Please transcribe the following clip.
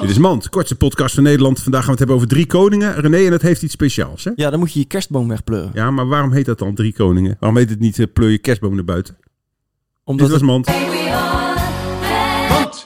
Dit is Mand, kortste podcast van Nederland. Vandaag gaan we het hebben over drie koningen. René, en dat heeft iets speciaals, hè? Ja, dan moet je je kerstboom wegpleuren. Ja, maar waarom heet dat dan drie koningen? Waarom heet het niet eh, pleur je kerstboom naar buiten? Omdat Dit het was Mand.